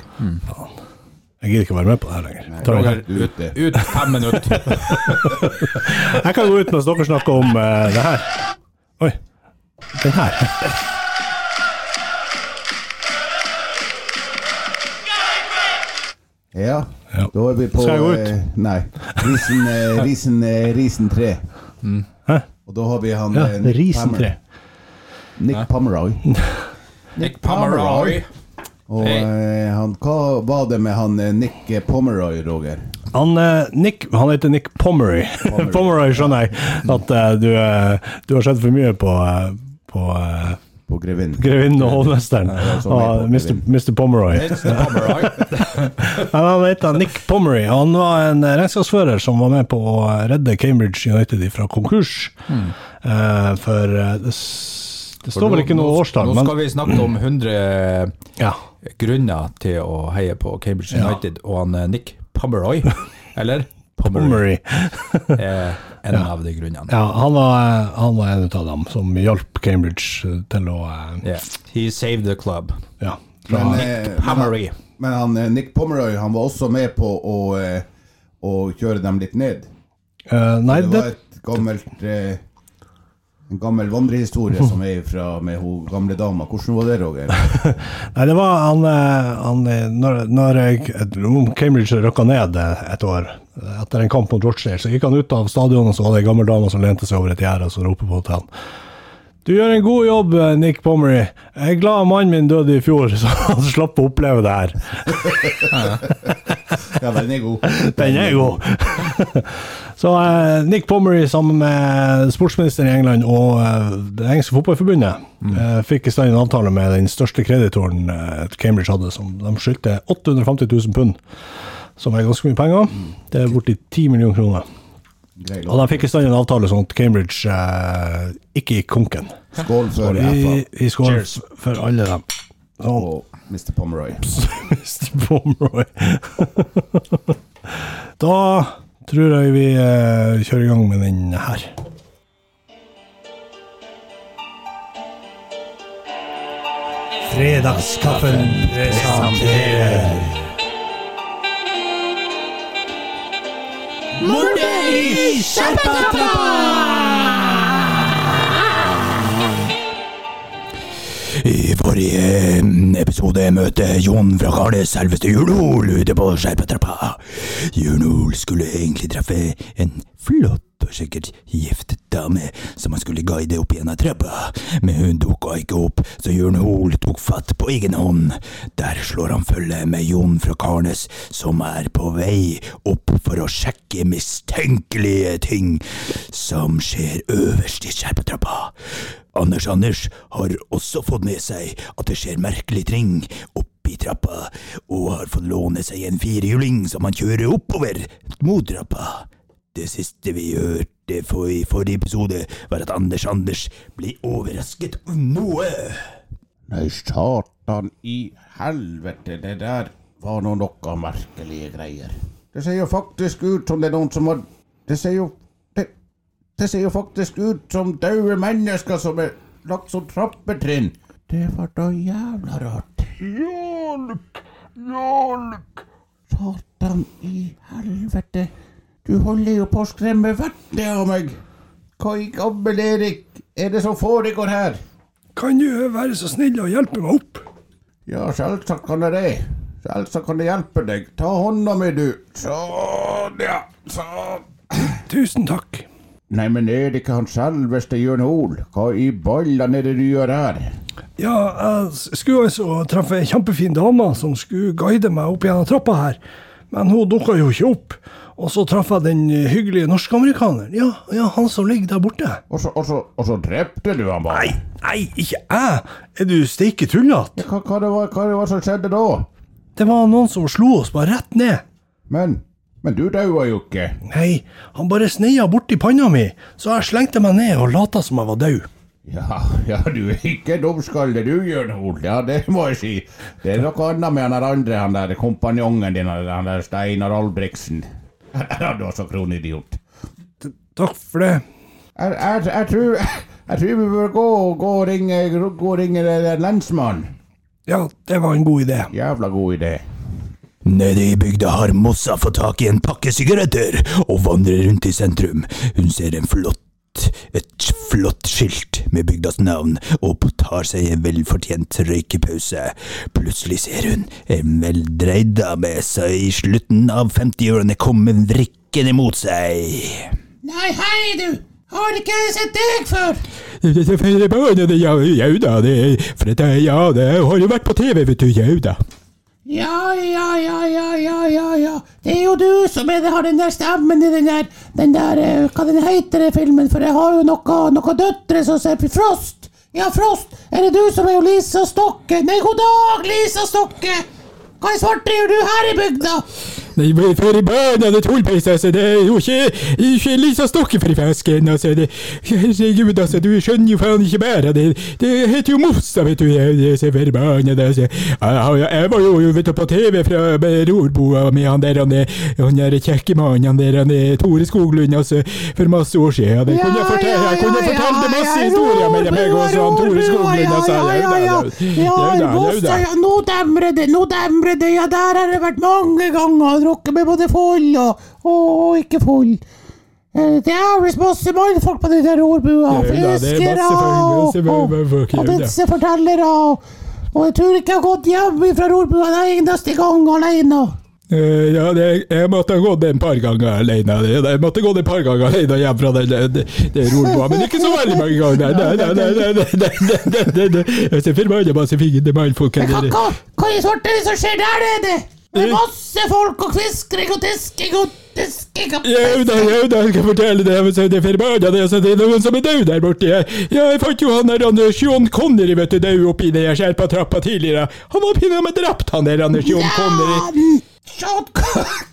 jeg gidder ikke være med på det her lenger. Tar det.
Du er ute.
Ut fem minutter.
Jeg kan gå ut mens dere snakker om eh, det her. Oi. Den her.
Ja.
Ja.
Da er vi på
Skal jeg gå ut?
eh, Nei. Risen, eh, risen, eh, risen 3.
Hæ?
Og da har vi han
Ja,
eh, Nick Pammer-
Risentre.
Nick Pomeroy.
Nick Pomeroy.
Og
Hei.
eh, han, hva var det med han eh, Nick eh, Pomeroy, Roger?
Han, eh, Nick, han heter Nick Pomeroy.
Pomeroy.
Pomeroy skjønner jeg at eh, du, eh, du har sett for mye på, eh, på eh,
På Grevinnen.
Grevinnen og hovmesteren eh,
jeg
sånn
så mye
av
på
Mr.
Grevinnen.
Mr. Pomeroy.
Nick Pomeroy.
Nei, Han heter Nick Pomeroy. Han var en eh, regnskapsfører som var med på å eh, redde Cambridge United fra konkurs. Eh, for eh, det, s- det står vel ikke noe
Hmm. Nå-
årstall,
Nå
men
skal vi snakke om 100
ja.
grunner til å heie på Cambridge United, og han eh, Nick Pomeroy, eller Pomeroy,
Pomeroy.
er en av de grunnene.
Ja, han var, han var en av dem som hjalp Cambridge eh, til å eh,
Yeah. He saved the club.
Ja. Fra,
Men, eh, men han-
Pomeroy.
Men han, eh, Nick Pomeroy han var også med på å, eh, å kjøre dem litt ned.
Eh, nei,
Det
det,
var et gammelt eh, en gammel vandrehistorie som er fra med hun gamle dama. Hvordan var det, Roger?
nei, det var han, eh, han eh, Når, når jeg- et- om Cambridge røkka ned eh, et år eh, etter en kamp mot Rochdale, så gikk han ut av stadionet, og så var det ei gammel dame som lente seg over et gjerde og så ropte på til han. Du gjør en god jobb, eh, Nick Pomeroy. Jeg er glad mannen min døde i fjor, så han slapp å oppleve det her.
Ja, den er god.
Den er god! Så eh, Nick Pomeroy sammen med sportsministeren i England og eh, det engelske fotballforbundet eh, fikk i stand en avtale med den største kreditoren eh, Cambridge hadde, som de skyldte 850 000 pund, som er ganske mye penger. Det er borti 10 millioner kroner.
Grei
Og
låt.
de fikk i stand en avtale sånn at Cambridge eh, ikke gikk konken.
Skål for
I,
FA
i skål for alle dem. Sånn.
og Mr. Pomeroy.
Mr. Pomeroy. da tror jeg vi eh, kjører i gang med den her. Fredagskaffen presenterer Mordet i Skjerpatrappa!
I forrige eh, episode møtte Jon fra Karnes selveste Jurnol ute på skjerpetrappa. Jurnol skulle egentlig treffe en flott og sikkert giftet dame som han skulle guide opp gjennom trappa, men hun dukka ikke opp, så Jurnol tok fatt på egen hånd. Der slår han følge med Jon fra Karnes, som er på vei opp for å sjekke mistenkelige ting som skjer øverst i skjerpetrappa. Anders Anders har også fått med seg at det skjer merkelige ting opp i trappa, og har fått låne seg en firehjuling som han kjører oppover mot trappa. Det siste vi hørte for i forrige episode, var at Anders Anders ble overrasket av noe.
Nei, satan i helvete, det der var nå noe merkelige greier. Det ser jo faktisk ut som det er noen som har Det ser jo Det, det ser jo faktisk ut som daue mennesker som er lagt som trappetrinn. Det var da jævla rart. Hjelp! Hjelp! Satan i helvete. Du holder jo på å skremme vettet av meg. Hva i gammel Erik er det som foregår her?
Kan du være så snill å hjelpe meg opp?
Ja, selvsagt kan jeg det. Selvsagt kan jeg hjelpe deg. Ta hånda mi, du. Sånn, ja. Sånn.
Tusen takk.
Nei, men er det ikke han selveste Jørn Hoel? Hva i ballan er det du gjør her?
Ja, jeg s- skulle altså treffe ei kjempefin dame som skulle guide meg opp gjennom trappa her, men hun dukka jo ikke opp. Og så traff jeg den hyggelige norskamerikaneren. Ja, ja, han som ligger der borte.
Og så, og så, og så drepte du han bare?
Nei, nei, ikke jeg! Er du steike tullete?
Hva, hva, det var, hva det var som skjedde da?
Det var noen som slo oss bare rett ned.
Men, men du daua jo ikke.
Nei, han bare sneia borti panna mi, så jeg slengte meg ned og lata som jeg var død.
Ja, ja, du er ikke dumskalle du, Jørn Hoel. Ja, det må jeg si. Det er noe annet med han der andre, han der kompanjongen din, han der- han der Steinar Albrigtsen. Ja, du er så kronidiot.
Takk for det.
Jeg, jeg, jeg, tror, jeg tror vi bør gå, gå og ringe, gå og ringe den der lensmannen.
Ja, det var en god idé.
Jævla god idé.
Nede i bygda har Mossa fått tak i en pakke sigaretter og vandrer rundt i sentrum. Hun ser en flott et flott skilt med bygdas navn og tar seg en velfortjent røykepause. Plutselig ser hun en veldreid dame som i slutten av 50-årene kommer vrikkende mot seg.
Nei, hei du! Har ikke jeg sett deg før?
Jau da, det, for dette, ja, det har jo vært på TV, vet du, jau da.
Ja, ja, ja, ja, ja, ja, ja. Det er jo du som er, har den der stemmen i den der, den der eh, Hva den heter den filmen? For jeg har jo noen noe døtre som ser på Frost. Ja, Frost. Er det du som er jo Lisa Stokke? Nei, god dag, Lisa Stokke. Hva i svarte gjør du her i bygda?
Nei, men for i barna, det tullpeis, altså, det er jo ikke, ikke Lisa Stokke for i fasken, altså, det, herregud, altså, du skjønner jo faen ikke bare, det, det heter jo Mossa, vet du, jeg, jeg ser for i barna, det, altså, jeg, jeg, jeg var jo, vet du, på TV fra Rorboa med han der, han, der- han der kjekke mannen, han der, han der, Tore Skoglund, altså, for masse år siden, det kunne jeg fortelle, jeg kunne fortelle masse historier med meg, også, han Tore Skoglund, altså, jau da, jau da, jau da, jau da.
Ja, nå demrer det, nå demrer det. Ja, der har det vært mange ganger. Drukket meg både full og, og ikke full. Eh, Det er visst masse mannfolk på den der ordbua.
Ja, ja, det er masse
Fiskere
folk,
og,
masse
og,
mannfolk, ja,
og
ja.
vitsefortellere. Og, og jeg tror ikke jeg har gått hjem fra ordbua en eneste gang alene.
Eh, ja, det, jeg måtte ha gått en par ganger alene. Det- Jeg måtte gått en par ganger alene hjem fra den, den, den rorboa, men ikke så veldig mange ganger. Nei, nei, nei, nei, nei, nei, nei, nei, nei, nei. Jeg ser forbanna masse fine mannfolk her
Men hva,
nede.
hva, hva i svarte er det som skjer der nede? Det
Eh.
er masse folk og kviskring og tisking og tisking og
Jau da, jau da, jeg skal fortelle deg, så det er forbanna det, så det er noen som er død der borte. Jeg, ja, jeg fant jo han der Anders John Connery, vet du, død oppi den jeg skjerpa trappa tidligere. Han var pinadø drept, han der Anders John Connery.
Ja, Sean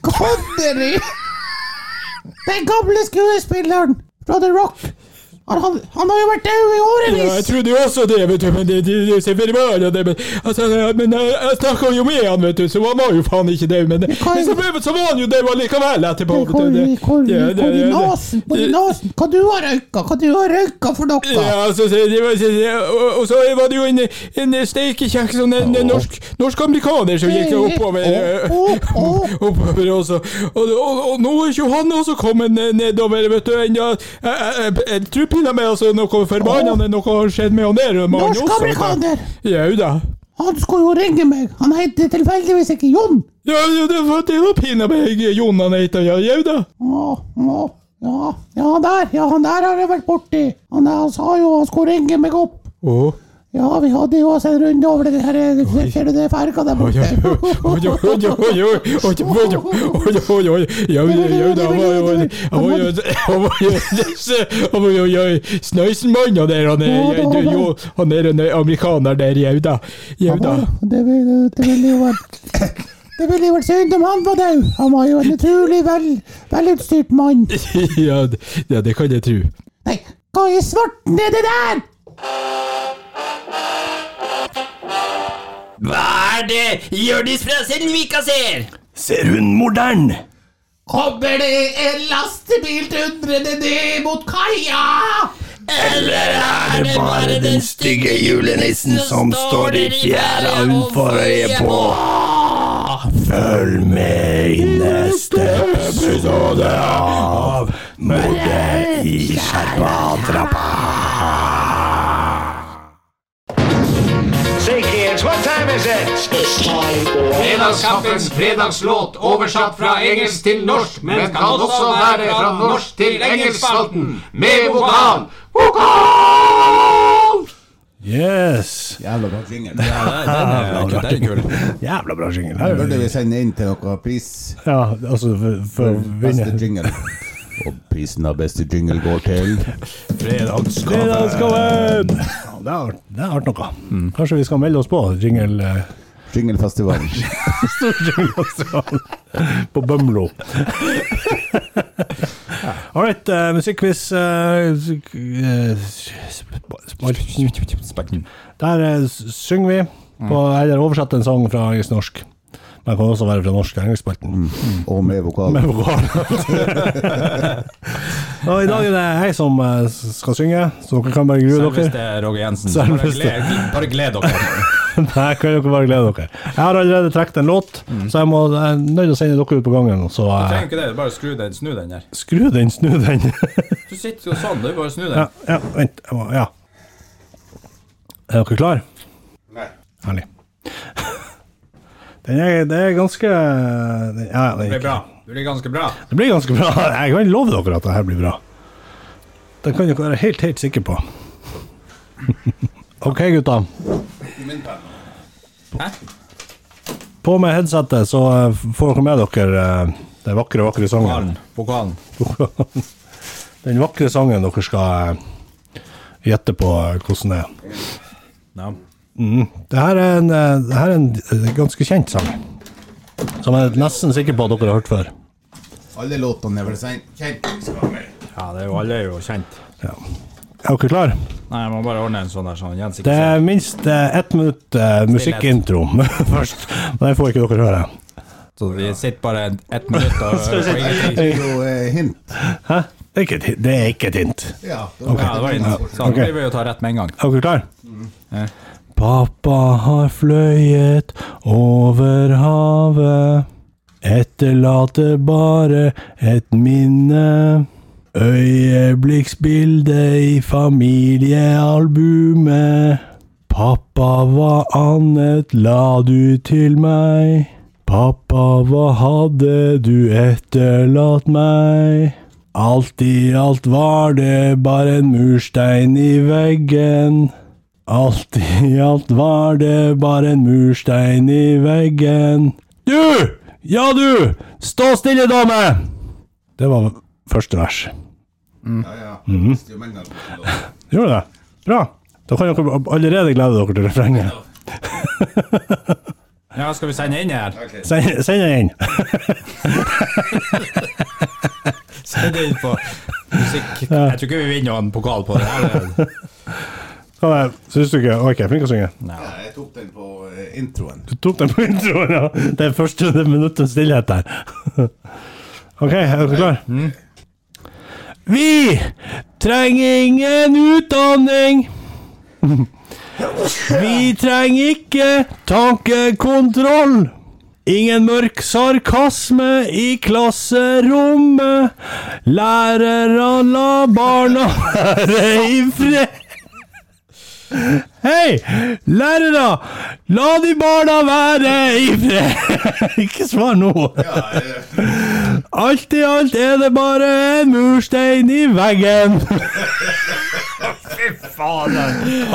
Connery! Den gamle skuespilleren fra The Rock. Han, han, han har jo vært død i
Ja, jeg
årevis.
trodde jo også det, vet du, men det, det, det ser forbanna det, men, altså, ja, men jeg, jeg snakka jo med han, vet du, så han var jo faen ikke død, men,
kan-
men så, ble- så var han jo død allikevel etterpå.
Hvor hvor-
Det-
hvor-
ja, det-
hvor i
ja, det-
nasen? Hvor i nasen? Hva du har røyka? Hva du har røyka for noe?
Ja, altså, så, det var, så, det- og, og så var det jo en, en steikekjekk sånn en, en norsk, norsk-amerikaner som gikk oppover.
Å, å, å.
oppover også. eh, Og, og, og nå er ikke han også kommet ned- nedover, vet du. ennå. jeg, jeg, jeg, jeg tror pinadø meg altså, noe forbannende noe har skjedd med han der mannen også.
Norsk-amerikaner.
Jau altså. da.
Han skulle jo ringe meg. Han heter tilfeldigvis ikke Jon.
Ja, ja, det var, det var pinadø jeg Jon han heter, ja, jau da.
Å, å, ja, ja, han der, ja, han der har jeg vært borti. Han, der, han sa jo han skulle ringe meg opp.
Å,
Ja, vi hadde jo oss en runde over den her eh, Ser du den ferga der
oi,
borte?
oi, oi, oi, oi, oi, oi, oi, oi, oi, oi, oi, jau, jau, jau da, han var jo en- han var jo en- han var jo en- han var jo en snøysenmann, han der, han er, jau, du, jo, han er en amerikaner der, jau da, jau da.
Det ville, det ville jo vært Det ville jo vært synd om han var død. Han var jo en utrolig vel, velutstyrt mann.
Ja, det- ja, det kan jeg tro.
Nei, hva i svarten er det der?
Hva er det Hjørdis fra Selvika ser?
Ser hun moderne?
Kommer det en lastebil dundrende ned mot kaia?
Eller er det bare den stygge julenissen som står i fjæra utenfor øyet på?
Følg med i neste episode av Mordet i Skjerpatrappa.
Fredagskaffens fredagslåt oversatt fra engelsk til norsk, men kan også være fra norsk til engelskspalten med vokal. Vokal!
Yes.
Jævla bra jingle.
Jævla bra jingle.
Burde
Her.
vi sende inn til noe pris?
Ja, altså, for, for å
Beste
vinne
jingle. Og prisen av beste jingle går til
Fredagskaffen! Ja, Det har det har vært noe. Kanskje vi skal melde oss på jingle eh,
Jinglefestivalen.
på Bømlo. All right, eh, musikkquiz eh, sp- eh, sp- spalten. Der eh, s- synger vi på eller oversatt en sang fra engelsk til norsk. Men det kan også være fra norsk til engelskspalten.
Og med vokal.
Med vokal. Og i dag er det jeg som eh, s- skal synge, så dere kan bare grue dere.
Selveste Roger Jensen. Bare
Selveste.
gled, bare gled dere.
Nei, kan dere bare glede dere. Jeg har allerede trukket en låt, så jeg må jeg er nødt til å sende dere ut på gangen. Så
Mm. Du
eh,
trenger ikke det, det er bare å skru den, snu den der.
skru den, snu den.
Du sitter jo sånn, du bare snu den.
Ja, ja, vent. Jeg må, ja. Er dere klar? Nei. Herlig. Den er, det er ganske den- ja, ja,
Det
den,
blir bra. Det blir ganske bra.
det blir ganske bra. Jeg kan love dere at det her blir bra. Det kan dere være helt, helt sikre på. OK, gutta.
Hæ?
På med headsetet, så eh, får dere med dere eh, den vakre, vakre sangen.
Vokalen. Vokalen.
Den vakre sangen dere skal eh, gjette på eh, hvordan det er.
Ja.
Det her er en, eh, det her er en eh, ganske kjent sang. Som jeg er nesten sikker på at dere har hørt før.
Alle låtene er vel sen- kjent.
ja, det er jo alle er jo kjent.
Er dere klare?
Nei, jeg må bare ordne en sånn der, sånn Jens ikke
Det
ser.
er minst eh, ett minutt eh, musikkintro først. Men den får ikke dere høre.
Så vi sitter bare ett minutt og hører på ingenting.
Det er jo eh, hint.
Hæ? Det er ikke et hint. Det er ikke et hint.
Ja,
Ja, det var inne. Sånn,
Ok.
vi vil jo ta rett med en gang.
Er dere klare? Pappa har fløyet over havet. Etterlater bare et minne. Øyeblikksbilde i familiealbumet. Pappa var annet, la du til meg. Pappa, hva hadde du etterlatt meg? Alt i alt var det bare en murstein i veggen. Alt i alt var det bare en murstein i veggen. Du! Ja, du! Stå stille, dame! Det var første vers. Mhm. Gjorde det? Bra. Da kan dere allerede glede dere til refrenget.
Ja, skal vi sende inn her?
Send send den inn.
Send inn på musikk. Jeg tror ikke vi vinner en pokal på det her.
Hva er det? Syns du ikke Ok, flink å synge.
Jeg tok den på eh, introen.
Du tok den på introen, ja. Det er første minuttens stillhet der. OK, er dere klar? Vi trenger ingen utdanning. Vi trenger ikke tankekontroll. Ingen mørk sarkasme i klasserommet. Lærere la barna være i fred. Hei, lærere! La de barna være i fred! Ikke svar nå. Alt i alt er det bare en murstein i veggen.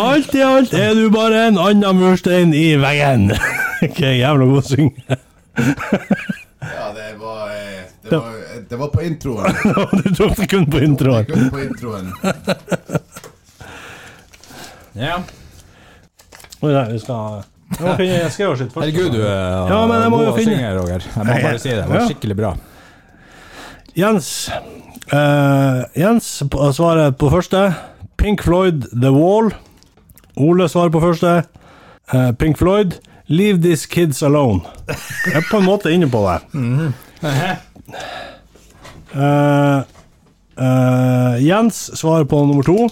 Alt i alt er du bare en annen murstein i veggen. Ikke jævla god å synge.
Ja, det var, eh, det var, det var på introen.
Du tok det kun på
Det
introen.
var på introen.
Ja.
Oi, nei, vi skal Jeg må finne jeg skal gjøre sitt først.
Herregud, du er
Ja, men jeg må jo
god
finne-
synger, Roger. Jeg må bare si det. Det var
Ja.
skikkelig bra.
Jens. Eh, Jens p- svarer på første. Pink Floyd, The Wall. Ole svarer på første. Eh, Pink Floyd, Leave These Kids Alone. Jeg er på en måte inne på det. Eh, eh, Jens svarer på nummer to.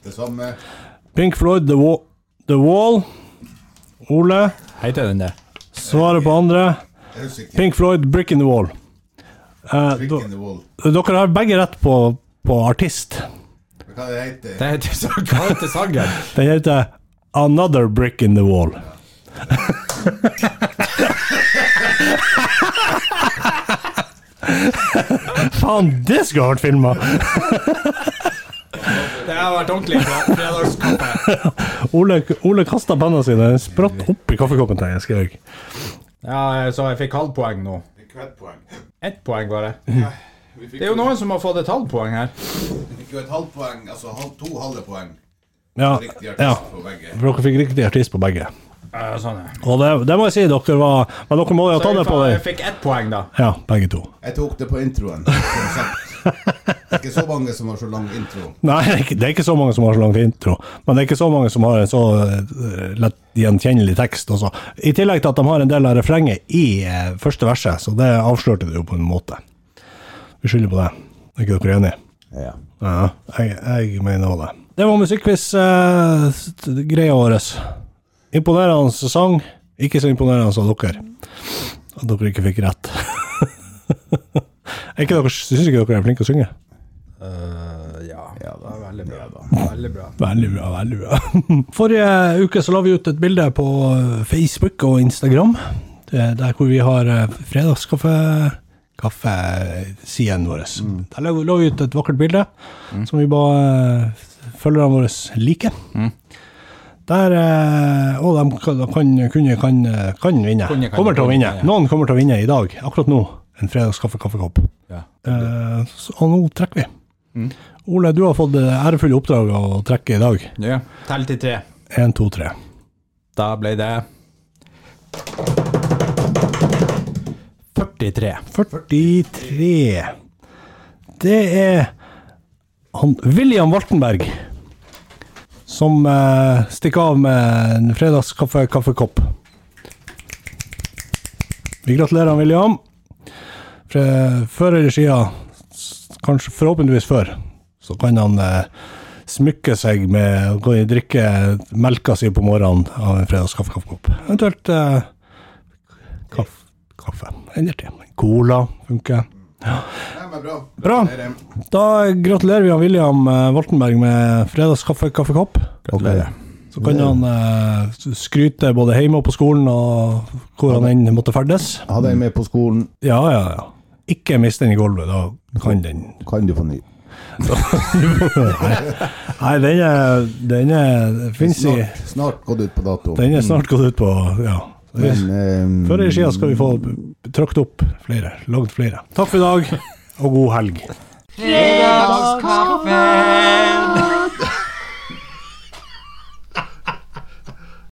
Det samme.
Pink Floyd, The, Wa The Wall. Ole
Heter den det?
svarer på andre.
Jeg er usikker.
Pink Floyd, Brick in the Wall. Eh,
Brick in the wall.
d- dere har begge rett på, på artist.
Hva det heter
Det heter så hva heter sangen?
Den heter Another Brick in the Wall. Faen, det skulle ha vært filma!
Det har vært ordentlig bra. Fredagskaffe.
Ole, Ole kasta penna si, den spratt opp i kaffekoppen til Skjørg.
Ja, så jeg fikk halvpoeng nå.
det? Kveldpoeng.
Ett poeng bare.
Vi fikk
Det er jo noen som har fått et halvpoeng her.
vi fikk jo et halvt poeng, altså halv, to halve poeng.
Ja,
Riktig artist
ja.
på begge.
For dere fikk riktig artist på begge.
Ja, sånn ja.
Og det, det må jeg si, dere var Men dere må jo ha
Så
tatt det
jeg,
på
fa- jeg
deg.
fikk ett poeng, da.
Ja, begge to.
Jeg tok det på introen. som sagt. Det er ikke så mange som har så lang intro.
Nei, det er ikke- det er ikke så mange som har så lang intro, men det er ikke så mange som har en så eh, lett gjenkjennelig tekst. Også. I tillegg til at de har en del av refrenget i eh, første verset, så det avslørte du jo på en måte. Vi skylder på det. Er ikke dere enige?
Ja.
Ja, jeg, jeg mener også det. Det var musikkquiz-greia vår. Imponerende sang. Ikke så imponerende som dere. At dere ikke fikk rett. Er ikke dere, Syns ikke dere er flinke til å synge?
Eh, ja.
Ja da.
Veldig bra.
Ja da.
Veldig bra.
Veldig bra, veldig bra. Forrige uke så la vi ut et bilde på eh, Facebook og Instagram, Det er der hvor vi har eh, fredagskaffe kaffesiden vår.
Mm.
Der la la vi ut et vakkert bilde som vi ba eh, følgerne våre like.
Mm.
Der eh, Og de, kan, de kan, kunne, kan, kan vinne.
Kunne, kan,
kommer til å
kunne,
vinne.
ja.
Noen kommer til å vinne i dag, akkurat nå. En fredagskaffe-kaffekopp.
Ja.
Eh, så- og nå trekker vi. Ole, du har fått det ærefulle oppdraget å trekke i dag.
Ja. Tell til tre.
Én, to, tre.
Da ble det 43.
43. Det er han William Waltenberg som eh, stikker av med en fredagskaffekopp. Vi gratulerer, han, William. Fra- Før eller siden, s- kanskje forhåpentligvis før, så kan han eh, smykke seg med å gå og drikke melka si på morgenen av en fredagskaffekopp. Eventuelt eh, kaff, kaffe eller te. Cola funker.
Nei, men bra.
Bra.
Gratulerer.
Da gratulerer vi han William eh, Waltenberg med fredagskaffe-kaffekopp.
Gratulerer.
Så kan han eh, skryte både hjemme og på skolen og hvor han enn måtte ferdes.
Ha deg med på skolen.
Ja, ja, ja. Ikke mist den i gulvet, da kan den
Kan du få ny?
Nei, den er, den er fins i
Snart, snart gått ut på dato.
Den er snart gått ut på Ja.
Men, ehm,
Før eller siden skal vi få trykt opp flere. Lagd flere. Takk for i dag, og god helg.
Fredagskaffe.